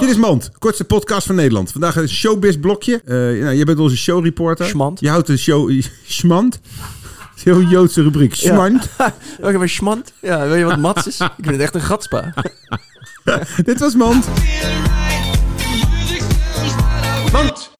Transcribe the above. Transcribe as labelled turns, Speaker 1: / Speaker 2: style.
Speaker 1: Dit is Mand, kortste podcast van Nederland. Vandaag een showbiz blokje. Eh nou, je bent onze showreporter.
Speaker 2: Schmand.
Speaker 1: Je houdt de show... Schmand? Dat is een Heel Joodse rubriek. Schmand.
Speaker 2: Oké, maar schmand? Ja, weet je wat mats is? Ik vind het echt een gatspa.
Speaker 1: Dit was Mand.
Speaker 3: Mand.